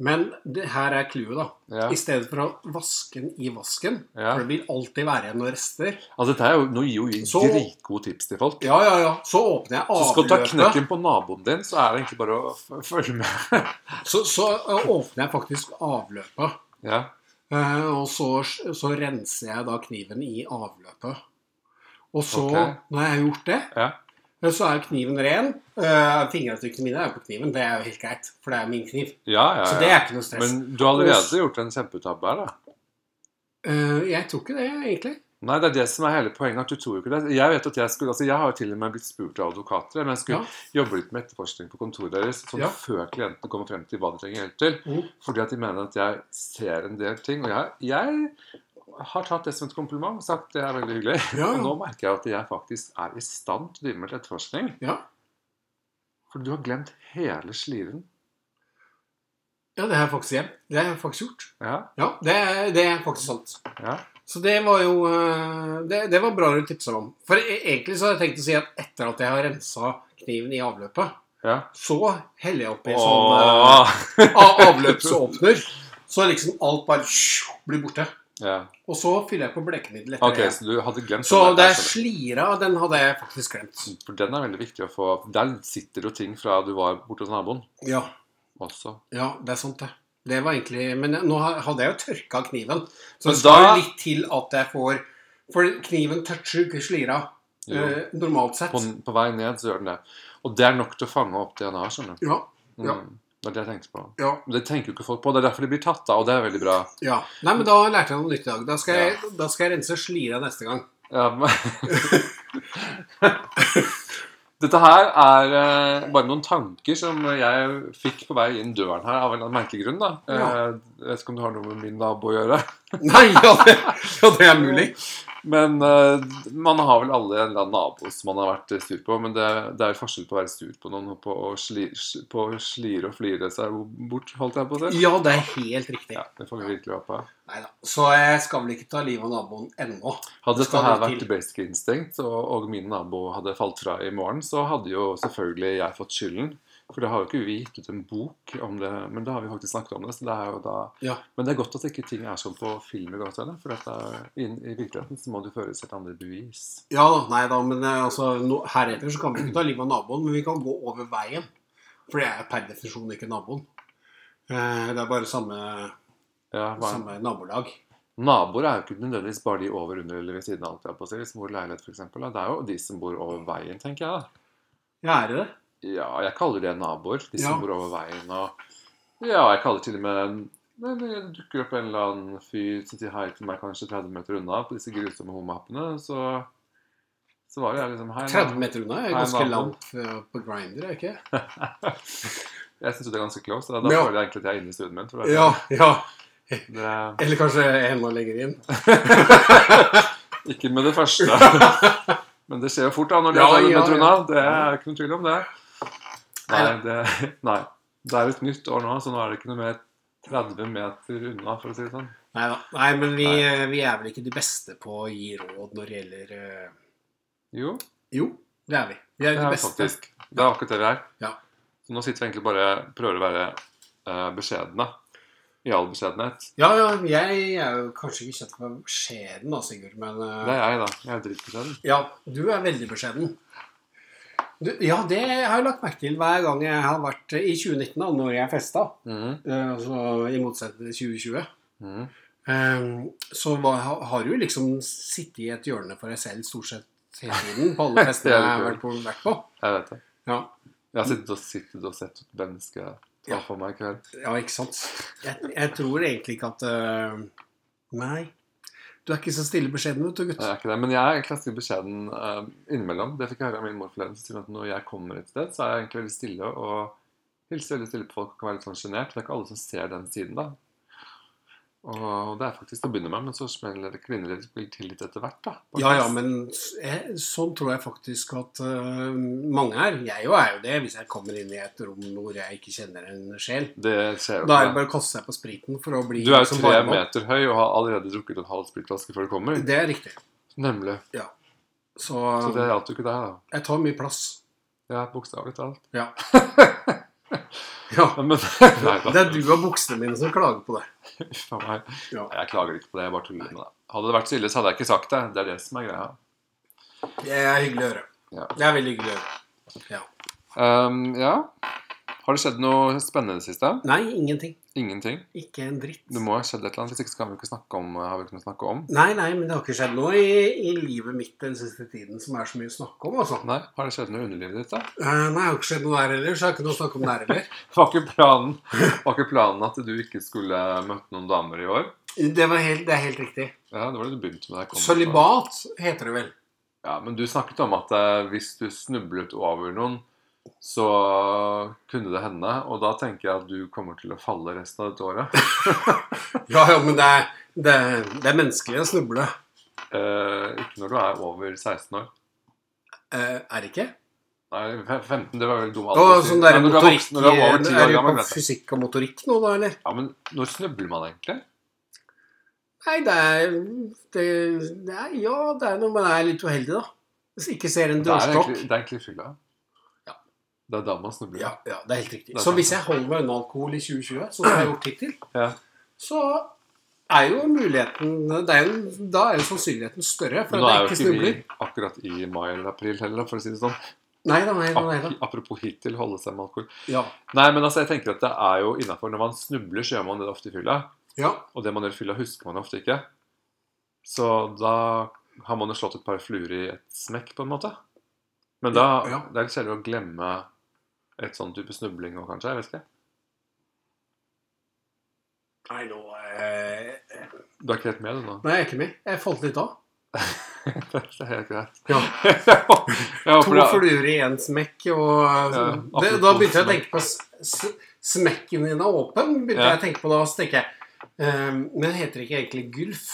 Speaker 2: Men det, her er clouet, da.
Speaker 1: Ja.
Speaker 2: I stedet for å vaske den i vasken,
Speaker 1: Ja.
Speaker 2: for det vil alltid være igjen noen rester,
Speaker 1: Altså, dette er jo, Nå gir jo vi
Speaker 2: Så-
Speaker 1: dritgode tips til folk.
Speaker 2: Ja, ja, ja. Så åpner jeg
Speaker 1: Så skal du ta
Speaker 2: avløpet.
Speaker 1: knekken på naboen din, så er det egentlig bare å f- følge med.
Speaker 2: Så, så ø, åpner jeg faktisk avløpet.
Speaker 1: Ja.
Speaker 2: Eh, og så, så renser jeg da kniven i avløpet. Og så,
Speaker 1: Ok.
Speaker 2: når jeg har gjort det,
Speaker 1: Ja.
Speaker 2: Men Så er kniven ren. Eh, fingeravtrykkene mine er jo på kniven. Det er jo helt greit, for det er min kniv.
Speaker 1: Ja, ja,
Speaker 2: Så det
Speaker 1: ja.
Speaker 2: er ikke noe stress.
Speaker 1: Men du har allerede gjort en kjempetabbe her, da.
Speaker 2: Eh, jeg tror ikke det, egentlig.
Speaker 1: Nei, det er det som er hele poenget. at du tror jo ikke det. Jeg vet at jeg skulle, altså jeg har jo til og med blitt spurt av advokater. Men jeg skulle jobbe litt med etterforskning på kontoret deres sånn
Speaker 2: Ja.
Speaker 1: før klientene kommer frem til hva de trenger hjelp til.
Speaker 2: Mhm.
Speaker 1: Fordi at de mener at jeg ser en del ting. Og jeg, jeg har tatt det som et kompliment og sagt det er veldig hyggelig.
Speaker 2: Ja,
Speaker 1: Og
Speaker 2: ja.
Speaker 1: nå merker jeg at jeg faktisk er i stand til å drive med etterforskning.
Speaker 2: ja.
Speaker 1: For du har glemt hele sliven.
Speaker 2: Ja, det har jeg faktisk hjem. Det har jeg faktisk gjort.
Speaker 1: Ja,
Speaker 2: Ja, det, er- det er faktisk sant.
Speaker 1: ja.
Speaker 2: Så det var jo eh, Det, det var bra du tipsa om. For e- egentlig så har jeg tenkt å si at etter at jeg har rensa kniven i avløpet,
Speaker 1: ja.
Speaker 2: så heller jeg oppi en sånn
Speaker 1: Åh.
Speaker 2: eh, av- avløpsåpner. Så liksom alt bare blir borte.
Speaker 1: ja.
Speaker 2: Og så fyller jeg på blekemiddel etter
Speaker 1: Ok,
Speaker 2: det.
Speaker 1: så du hadde glemt
Speaker 2: Så
Speaker 1: den
Speaker 2: det
Speaker 1: der,
Speaker 2: er slira, den hadde jeg faktisk glemt.
Speaker 1: For den er veldig viktig å få Der sitter det jo ting fra du var borte hos naboen
Speaker 2: Ja,
Speaker 1: også.
Speaker 2: ja, det er sant, det. Det var egentlig Men nå ha- hadde jeg jo tørka kniven. Så
Speaker 1: Men
Speaker 2: det skal
Speaker 1: da-
Speaker 2: jo litt til at jeg får For kniven toucher jo ikke slira
Speaker 1: Jo.
Speaker 2: eh, normalt sett.
Speaker 1: På, på vei ned så gjør den det. Og det er nok til å fange opp DNA, skjønner du.
Speaker 2: Ja,
Speaker 1: Mm.
Speaker 2: Ja.
Speaker 1: Det er det jeg tenkte på.
Speaker 2: ja,
Speaker 1: Men Det tenker jo ikke folk på. Det er derfor de blir tatt, da, og det er veldig bra.
Speaker 2: ja. Nei, men da lærte jeg noe nytt i dag. Da skal jeg, da skal jeg rense slira neste gang.
Speaker 1: Ja, men... Dette her er eh, bare noen tanker som jeg fikk på vei inn døren her av en eller annen merkelig grunn. da. Eh,
Speaker 2: Ja.
Speaker 1: jeg vet ikke om det har noe med min nabo å gjøre.
Speaker 2: Nei, ja, det, ja, det er mulig.
Speaker 1: Men eh, man har vel alle en eller annen nabo som man har vært eh, sur på. Men det, det er forskjell på å være sur på noen og på å sli, sl- på å slire og flire seg bort, holdt jeg på å si.
Speaker 2: Ja, det er helt riktig.
Speaker 1: Ja, det får vi virkelig håpe.
Speaker 2: Neida. Så jeg skal vel ikke ta livet av naboen ennå.
Speaker 1: Hadde dette
Speaker 2: Skal
Speaker 1: her
Speaker 2: det
Speaker 1: vært
Speaker 2: til?
Speaker 1: Basic Instinct, og, og min nabo hadde falt fra i morgen, så hadde jo selvfølgelig jeg fått skylden. For det har jo ikke vi gitt ut en bok om det, men det har vi faktisk snakket om det. så det er jo da...
Speaker 2: Ja.
Speaker 1: Men det er godt at ikke ting er som på film. i gåseøyne, For dette, er- inn, i virkeligheten så må det jo føres et andre bevis.
Speaker 2: Ja da, nei da, men eh, altså, no, heretter så kan vi ikke ta livet av naboen, men vi kan gå over veien. For det er per definisjon ikke naboen. Eh, Det er bare samme,
Speaker 1: Ja, hva er
Speaker 2: samme nabolag.
Speaker 1: Naboer er jo ikke nødvendigvis bare de over, under eller ved siden av. alt jeg holdt på å si. Hvis mor leilighet, for eksempel, da. Det er jo de som bor over veien, tenker jeg. da.
Speaker 2: Ja, er det det?
Speaker 1: Ja, jeg kaller det naboer. De
Speaker 2: Ja.
Speaker 1: som bor over veien. og... Ja, jeg kaller til og med Nei, men det dukker opp en eller annen fyr som sier hei til meg kanskje 30 meter unna på disse grusomme homoappene, så, så var jo jeg liksom hei.
Speaker 2: 30 meter unna er
Speaker 1: Nei,
Speaker 2: ganske
Speaker 1: naboen.
Speaker 2: langt eh, på Grindr, er det ikke?
Speaker 1: Jeg syns jo det er ganske close. Da, da
Speaker 2: Ja.
Speaker 1: føler jeg egentlig at jeg er inne i studien min. For det,
Speaker 2: Ja, ja.
Speaker 1: det,
Speaker 2: Eller kanskje enda lenger inn.
Speaker 1: ikke med det første. Men det skjer jo fort da når de
Speaker 2: Ja,
Speaker 1: er 30
Speaker 2: ja,
Speaker 1: meter
Speaker 2: ja.
Speaker 1: unna. Det er ikke noe tvil om det. Nei,
Speaker 2: Neida.
Speaker 1: det, nei. Det er et nytt år nå, så nå er det ikke noe mer 30 meter unna, for å si det sånn.
Speaker 2: Neida. Nei, men vi, eh, vi er vel ikke de beste på å gi råd når det gjelder eh,
Speaker 1: Jo,
Speaker 2: Jo, det er vi. Vi er
Speaker 1: det
Speaker 2: de
Speaker 1: er
Speaker 2: beste.
Speaker 1: faktisk. Det er akkurat det vi er.
Speaker 2: Ja.
Speaker 1: Så nå sitter vi egentlig bare og prøver å være eh, beskjedne. I all beskjedenhet.
Speaker 2: Ja, ja, jeg er jo kanskje ikke kjent for å være beskjeden da, Sigurd, men eh,
Speaker 1: Det er jeg, da. Jeg er dritbeskjeden.
Speaker 2: Ja, du er veldig beskjeden. Du, ja, det har jeg lagt merke til hver gang jeg har vært eh, I 2019, da, når jeg festa,
Speaker 1: Mhm,
Speaker 2: eh, altså i motsetning til 2020,
Speaker 1: mhm.
Speaker 2: eh, så var, ha- har du liksom sittet i et hjørne for deg selv stort sett hele tiden på alle festene
Speaker 1: Det er
Speaker 2: jeg
Speaker 1: litt
Speaker 2: har vært på. Vært på.
Speaker 1: Jeg vet det.
Speaker 2: Ja.
Speaker 1: Jeg har sittet og, sittet og sett et menneske ta
Speaker 2: Ja.
Speaker 1: for meg i kveld.
Speaker 2: ja, ikke sant? Jeg, jeg tror egentlig ikke at eh, Nei. Du er ikke så stille beskjeden, vet du, gutt.
Speaker 1: Jeg er ikke det. Men jeg er egentlig ganske beskjeden eh, innimellom. Det fikk jeg høre av min mor forleden. Så sier hun at når jeg kommer et sted, så er jeg egentlig veldig stille og hilser veldig stille på folk og kan være litt sånn sjenert. Det er ikke alle som ser den siden, da. Og det er faktisk til å begynne med, men så smeller det kvinner litt blir til litt etter hvert, da. På
Speaker 2: Ja, ja,
Speaker 1: fest.
Speaker 2: men s- jeg, sånn tror jeg faktisk at øh, mange er. Jeg jo er jo det, hvis jeg kommer inn i et rom hvor jeg ikke kjenner en sjel.
Speaker 1: Det skjer jo
Speaker 2: Da er det
Speaker 1: ikke.
Speaker 2: bare å kaste seg på spriten for å bli
Speaker 1: Du er jo
Speaker 2: liksom
Speaker 1: tre
Speaker 2: varm opp.
Speaker 1: meter høy og har allerede drukket en halv sprittflaske før du kommer.
Speaker 2: Det er riktig.
Speaker 1: Nemlig.
Speaker 2: Så,
Speaker 1: Så det hjalp jo ikke deg, da.
Speaker 2: jeg tar mye plass.
Speaker 1: Ja, bokstavelig talt.
Speaker 2: Ja. ja.
Speaker 1: Men Nei da.
Speaker 2: Det er du og buksene mine som klager på det.
Speaker 1: Uff a meg.
Speaker 2: Ja.
Speaker 1: Nei, Jeg klager ikke på det, jeg bare tuller med det. Hadde det vært så ille, så hadde jeg ikke sagt det. Det er det som er greia.
Speaker 2: Det er hyggelig å høre.
Speaker 1: Ja.
Speaker 2: Det er veldig hyggelig å høre.
Speaker 1: Ehm, ja. Har det skjedd noe spennende i det siste?
Speaker 2: Nei, ingenting.
Speaker 1: Ingenting.
Speaker 2: Ikke en dritt.
Speaker 1: Det må ha skjedd et eller annet, hvis ikke så kan vi ikke snakke om, eh, har vi ikke noe å snakke om.
Speaker 2: Nei, nei, men det har ikke skjedd noe i, i livet mitt den siste tiden som er så mye å snakke om, altså.
Speaker 1: Nei, har det skjedd noe i underlivet ditt, da?
Speaker 2: Eh, Nei, det har ikke skjedd noe der heller, så jeg har ikke noe å snakke om der heller.
Speaker 1: Var ikke planen, var ikke planen at du ikke skulle møte noen damer i år?
Speaker 2: Det, var helt, det er helt riktig.
Speaker 1: Ja, det var det du begynte med. da jeg kom på.
Speaker 2: Sølibat heter det vel.
Speaker 1: Ja, men du snakket om at eh, hvis du snublet over noen, så kunne det hende. Og da tenker jeg at du kommer til å falle resten av dette året.
Speaker 2: Ja, ja, men det er, det, er- det er menneskelig å snuble.
Speaker 1: Eh, ikke når du er over 16 år.
Speaker 2: Eh, er det ikke?
Speaker 1: Nei, fe- 15, det var vel dum
Speaker 2: Og sånn
Speaker 1: Nei,
Speaker 2: der
Speaker 1: når du er
Speaker 2: motorikk
Speaker 1: voksen, når du er over 10
Speaker 2: Er
Speaker 1: år
Speaker 2: du
Speaker 1: gammel.
Speaker 2: på
Speaker 1: vet du.
Speaker 2: fysikk og motorikk nå, da, eller?
Speaker 1: Ja, men når snubler man egentlig?
Speaker 2: Nei, det er, det, det er Ja, det er noe, men jeg er litt uheldig, da. Hvis jeg ikke ser en
Speaker 1: Det er
Speaker 2: dørstokk.
Speaker 1: egentlig, det er egentlig fylla.
Speaker 2: Ja.
Speaker 1: Det er da man snubler.
Speaker 2: Ja, ja, det er helt riktig.
Speaker 1: Det er
Speaker 2: så
Speaker 1: sant.
Speaker 2: hvis jeg holder meg unna alkohol i 2020, sånn som jeg har gjort hittil,
Speaker 1: Ja.
Speaker 2: så er jo muligheten det er jo, Da er jo sannsynligheten større for
Speaker 1: Men nå
Speaker 2: at
Speaker 1: er
Speaker 2: jeg
Speaker 1: jo
Speaker 2: ikke
Speaker 1: ikke vi
Speaker 2: snubler.
Speaker 1: akkurat i mai eller april heller, for å si det sånn.
Speaker 2: Nei da, nei da. Nei, da.
Speaker 1: Ap apropos hittil, holde seg med alkohol.
Speaker 2: Ja.
Speaker 1: Nei, men altså, jeg tenker at det er jo innafor. Når man snubler, så gjør man det ofte i fylla.
Speaker 2: ja.
Speaker 1: Og det man gjør i fylla, husker man ofte ikke. Så da har man jo slått et par fluer i et smekk, på en måte. Men da
Speaker 2: Ja.
Speaker 1: det er litt kjedelig å glemme et sånn type snubling òg, kanskje. Jeg vet ikke.
Speaker 2: Nei, nå eh,
Speaker 1: Du er ikke helt med, du nå?
Speaker 2: Nei, jeg er ikke med. Jeg falt litt av.
Speaker 1: det er helt greit.
Speaker 2: Ja.
Speaker 1: jeg
Speaker 2: To
Speaker 1: håper det
Speaker 2: fluer i én smekk, og sånn.
Speaker 1: Ja,
Speaker 2: det,
Speaker 1: apropos
Speaker 2: Da begynte jeg å
Speaker 1: smekk.
Speaker 2: tenke på s- s- Smekken din er åpen, begynte
Speaker 1: Ja.
Speaker 2: jeg å tenke på da. Så tenker jeg eh, Men heter det ikke egentlig gulf?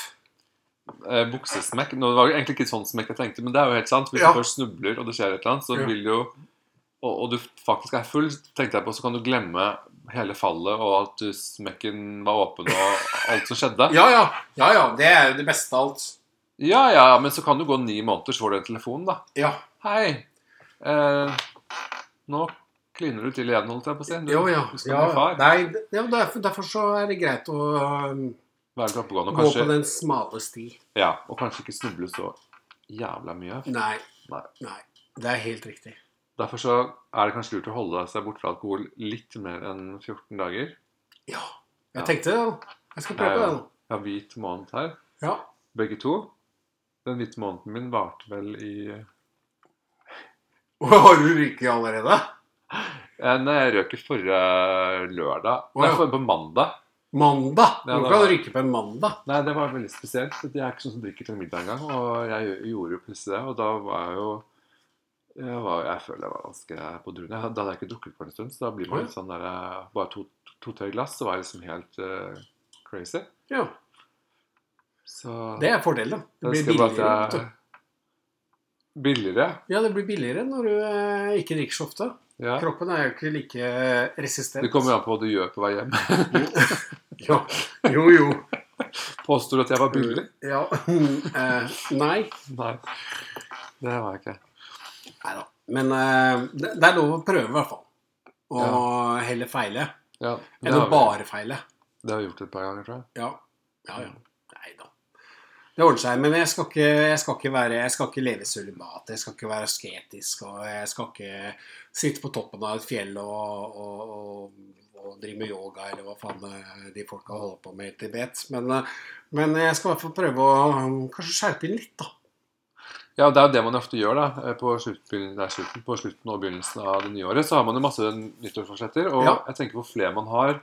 Speaker 1: eh, buksesmekk. Nå var det egentlig ikke sånn smekk jeg tenkte, men det er jo helt sant. Hvis
Speaker 2: Ja.
Speaker 1: du først snubler, og det skjer et eller annet, så
Speaker 2: Ja.
Speaker 1: vil jo og, og du faktisk er full, tenkte jeg på, så kan du glemme hele fallet, og at du, smekken var åpen, og alt som skjedde. Ja.
Speaker 2: Ja ja. Ja ja. Det er jo det beste av alt.
Speaker 1: ja, ja, men så kan du gå ni måneder, så får du en telefon, da.
Speaker 2: Ja.
Speaker 1: Hei. Eh, nå kliner du til igjen, holdt jeg på å si. Du,
Speaker 2: Jo, ja.
Speaker 1: du skal
Speaker 2: ja.
Speaker 1: bli far.
Speaker 2: Nei, det- ja, derfor, derfor så er det greit å øhm,
Speaker 1: Være litt oppegående, og
Speaker 2: gå på
Speaker 1: kanskje,
Speaker 2: den smale sti.
Speaker 1: ja, og kanskje ikke snuble så jævla mye.
Speaker 2: Nei.
Speaker 1: Nei.
Speaker 2: Nei. Det er helt riktig.
Speaker 1: Derfor så er det kanskje lurt å holde seg borte fra alkohol litt mer enn 14 dager.
Speaker 2: Ja.
Speaker 1: Ja.
Speaker 2: Jeg tenkte det. da. Jeg skal
Speaker 1: Ja,
Speaker 2: prøve på
Speaker 1: ja.
Speaker 2: det nå.
Speaker 1: Jeg har hvit måned her,
Speaker 2: Ja.
Speaker 1: begge to. Den hvite måneden min varte vel i eh,
Speaker 2: Og har du ryket allerede?
Speaker 1: Eh, Nei, jeg røk i forrige lørdag.
Speaker 2: Å,
Speaker 1: Nei,
Speaker 2: ja.
Speaker 1: for, på mandag.
Speaker 2: Mandag!
Speaker 1: Ja,
Speaker 2: Nå
Speaker 1: det
Speaker 2: kan
Speaker 1: var-
Speaker 2: du ryke på en mandag.
Speaker 1: Nei, det var veldig spesielt. for Jeg er ikke sånn som drikker til middag engang. Og jeg gjø- gjorde jo plutselig det, og da var jeg jo jeg, var, jeg føler jeg var ganske på druene. Jeg- Da hadde jeg ikke drukket på en stund, så da blir
Speaker 2: Å,
Speaker 1: man
Speaker 2: ja.
Speaker 1: litt sånn der eh, Bare to-tre to, tre glass, så var jeg liksom helt eh, crazy.
Speaker 2: Ja.
Speaker 1: Så
Speaker 2: Det er fordelen. Det
Speaker 1: Jeg
Speaker 2: blir
Speaker 1: husker bare at
Speaker 2: billigere. vet du.
Speaker 1: jeg- Billigere?
Speaker 2: Ja, det blir billigere når du eh, ikke drikker så ofte.
Speaker 1: Ja.
Speaker 2: Kroppen er jo ikke like eh, resistent.
Speaker 1: Det kommer jo an på hva du gjør på vei hjem.
Speaker 2: ja. Jo, jo.
Speaker 1: Påstår du at jeg var billig?
Speaker 2: Ja. Eh, Nei.
Speaker 1: Nei. Det var jeg ikke.
Speaker 2: Nei da. Men eh, det, det er lov å prøve, i hvert fall. Og heller feile
Speaker 1: Ja, det,
Speaker 2: enn å
Speaker 1: har vi,
Speaker 2: bare feile.
Speaker 1: det har vi gjort et par ganger, tror jeg.
Speaker 2: Ja. Ja, ja. Nei da. Det ordner seg. Men jeg skal ikke, jeg skal ikke, være, jeg skal ikke leve sølibat. Jeg skal ikke være asketisk. Og jeg skal ikke sitte på toppen av et fjell og, og, og, og drive med yoga, eller hva faen eh, de folka holder på med i Tibet. Men, eh, men jeg skal i hvert fall prøve å eh, kanskje skjerpe inn litt, da.
Speaker 1: Ja, Det er jo det man ofte gjør da, Eh, på slutten, nei, slutten, på slutten og begynnelsen av det nye året. Så har man jo masse nyttårsforsetter. Og
Speaker 2: Ja.
Speaker 1: jeg tenker hvor flere man har,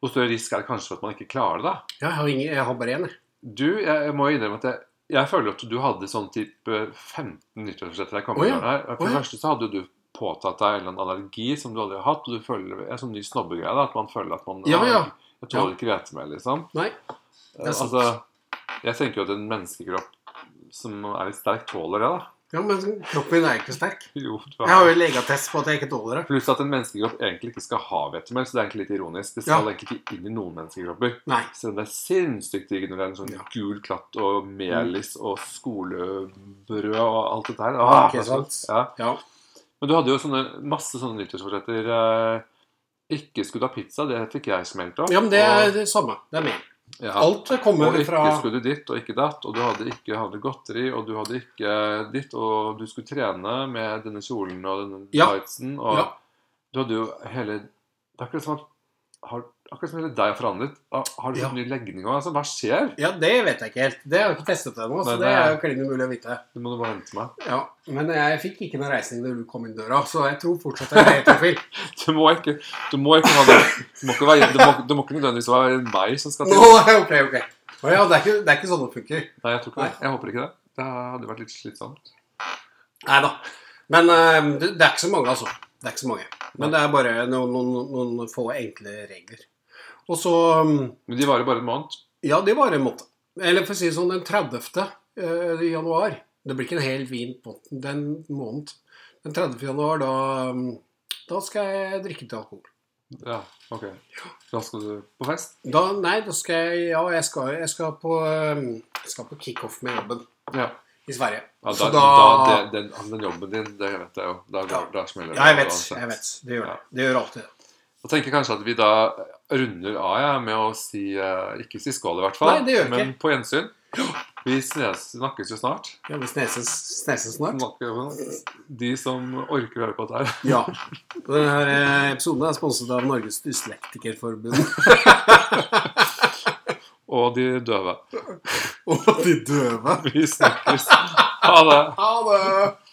Speaker 1: hvor større risk er det kanskje for at man ikke klarer det. da.
Speaker 2: Ja, jeg har, ingen, jeg har bare én, jeg.
Speaker 1: Du, jeg, jeg må jo innrømme at jeg, jeg føler at du hadde sånn type 15 nyttårsforsetter jeg kom
Speaker 2: Å ja.
Speaker 1: med her. For
Speaker 2: Å
Speaker 1: det
Speaker 2: ja.
Speaker 1: første så hadde jo du påtatt deg en eller annen allergi som du aldri har hatt, og du føler en sånn ny snobbegreie, da, at man føler at man
Speaker 2: Ja, ja.
Speaker 1: Jeg tåler ikke hvete mer, liksom.
Speaker 2: Nei.
Speaker 1: Eh,
Speaker 2: er sant.
Speaker 1: Altså, jeg tenker jo at en menneskekropp som er litt sterk, tåler det, da.
Speaker 2: Ja, men kroppen min er jo ikke sterk.
Speaker 1: Jo, du
Speaker 2: Jeg har jo legeattest på at jeg ikke tåler det.
Speaker 1: Pluss at en menneskekropp egentlig ikke skal ha hvetemel, så det er egentlig litt ironisk. Det skal egentlig ikke inn i noen menneskekropper.
Speaker 2: Nei.
Speaker 1: Selv om det er sinnssykt digg når det er en sånn
Speaker 2: Ja. Mm.
Speaker 1: gul klatt og melis og skolebrød og alt dette her. Ah,
Speaker 2: Ikke
Speaker 1: det er så
Speaker 2: sant?
Speaker 1: godt. Ja.
Speaker 2: Ja.
Speaker 1: Men du hadde jo sånne, masse sånne nyttårsforsetter. Eh, ikke skulle ha pizza, det fikk jeg smelt opp.
Speaker 2: ja, men det er det samme. Det er meg.
Speaker 1: og, ja.
Speaker 2: Alt kommer
Speaker 1: og ikke
Speaker 2: fra
Speaker 1: skulle du ditt og ikke datt, og du hadde ikke hadde godteri, og du hadde ikke ditt, og du skulle trene med denne kjolen og denne
Speaker 2: Ja.
Speaker 1: tightsen, og
Speaker 2: Ja.
Speaker 1: du hadde jo hele Det er akkurat som at har, Akkurat som hele deg har forandret. Har du fått
Speaker 2: Ja.
Speaker 1: ny legning òg? Altså, hva skjer?
Speaker 2: Ja, det vet jeg ikke helt. Det har jeg ikke testet ennå, så
Speaker 1: Nei,
Speaker 2: det
Speaker 1: nei.
Speaker 2: er jo klin umulig å vite.
Speaker 1: Du må du bare vente meg.
Speaker 2: Ja, Men jeg fikk ikke noe reisning da du kom inn døra, så jeg tror fortsatt jeg er heterofil.
Speaker 1: Du må ikke, du må ikke ha det. Du må ikke, være, det må, det må ikke nødvendigvis være meg som skal til.
Speaker 2: Nå, ok, ok. Å ja, det er, ikke, det er ikke sånn det funker.
Speaker 1: Nei, jeg tror ikke det. Jeg håper ikke det. Det hadde vært litt slitsomt.
Speaker 2: Nei da. Men eh, det, det er ikke så mange, altså. Det er ikke så mange. Men det er bare noen, noen, noen få enkle regler. Og så mm,
Speaker 1: Men de varer bare en måned.
Speaker 2: Ja, det var en måte. Eller for å si det sånn, den 30. eh, i januar Det blir ikke en hel vin på den måneden. Den 30. januar, da, mm, da skal jeg drikke til alkohol.
Speaker 1: Ja, ok. Da skal du på fest?
Speaker 2: Da, nei, da skal jeg Ja, jeg skal, jeg skal på, eh, jeg skal på kickoff med jobben
Speaker 1: Ja.
Speaker 2: i Sverige.
Speaker 1: ja da,
Speaker 2: Så
Speaker 1: da,
Speaker 2: da-
Speaker 1: det, den, den jobben din, det vet jeg jo. Da, går,
Speaker 2: Ja.
Speaker 1: da smeller det.
Speaker 2: Ja, jeg vet.
Speaker 1: uansett.
Speaker 2: jeg vet, Det gjør det. Det gjør alltid det.
Speaker 1: Jeg tenker kanskje at vi da runder av ja, med å si eh, Ikke si skål, i hvert fall.
Speaker 2: Nei, det gjør vi
Speaker 1: men på gjensyn. Vi ses, snakkes jo snart.
Speaker 2: Ja, vi sneses, sneses snart.
Speaker 1: De som orker å høre på dette her.
Speaker 2: Ja. Og Denne eh, episoden er sponset av Norges Dyslektikerforbund.
Speaker 1: Og de døve.
Speaker 2: Og de døve.
Speaker 1: Vi snakkes. Ha det.
Speaker 2: Ha det!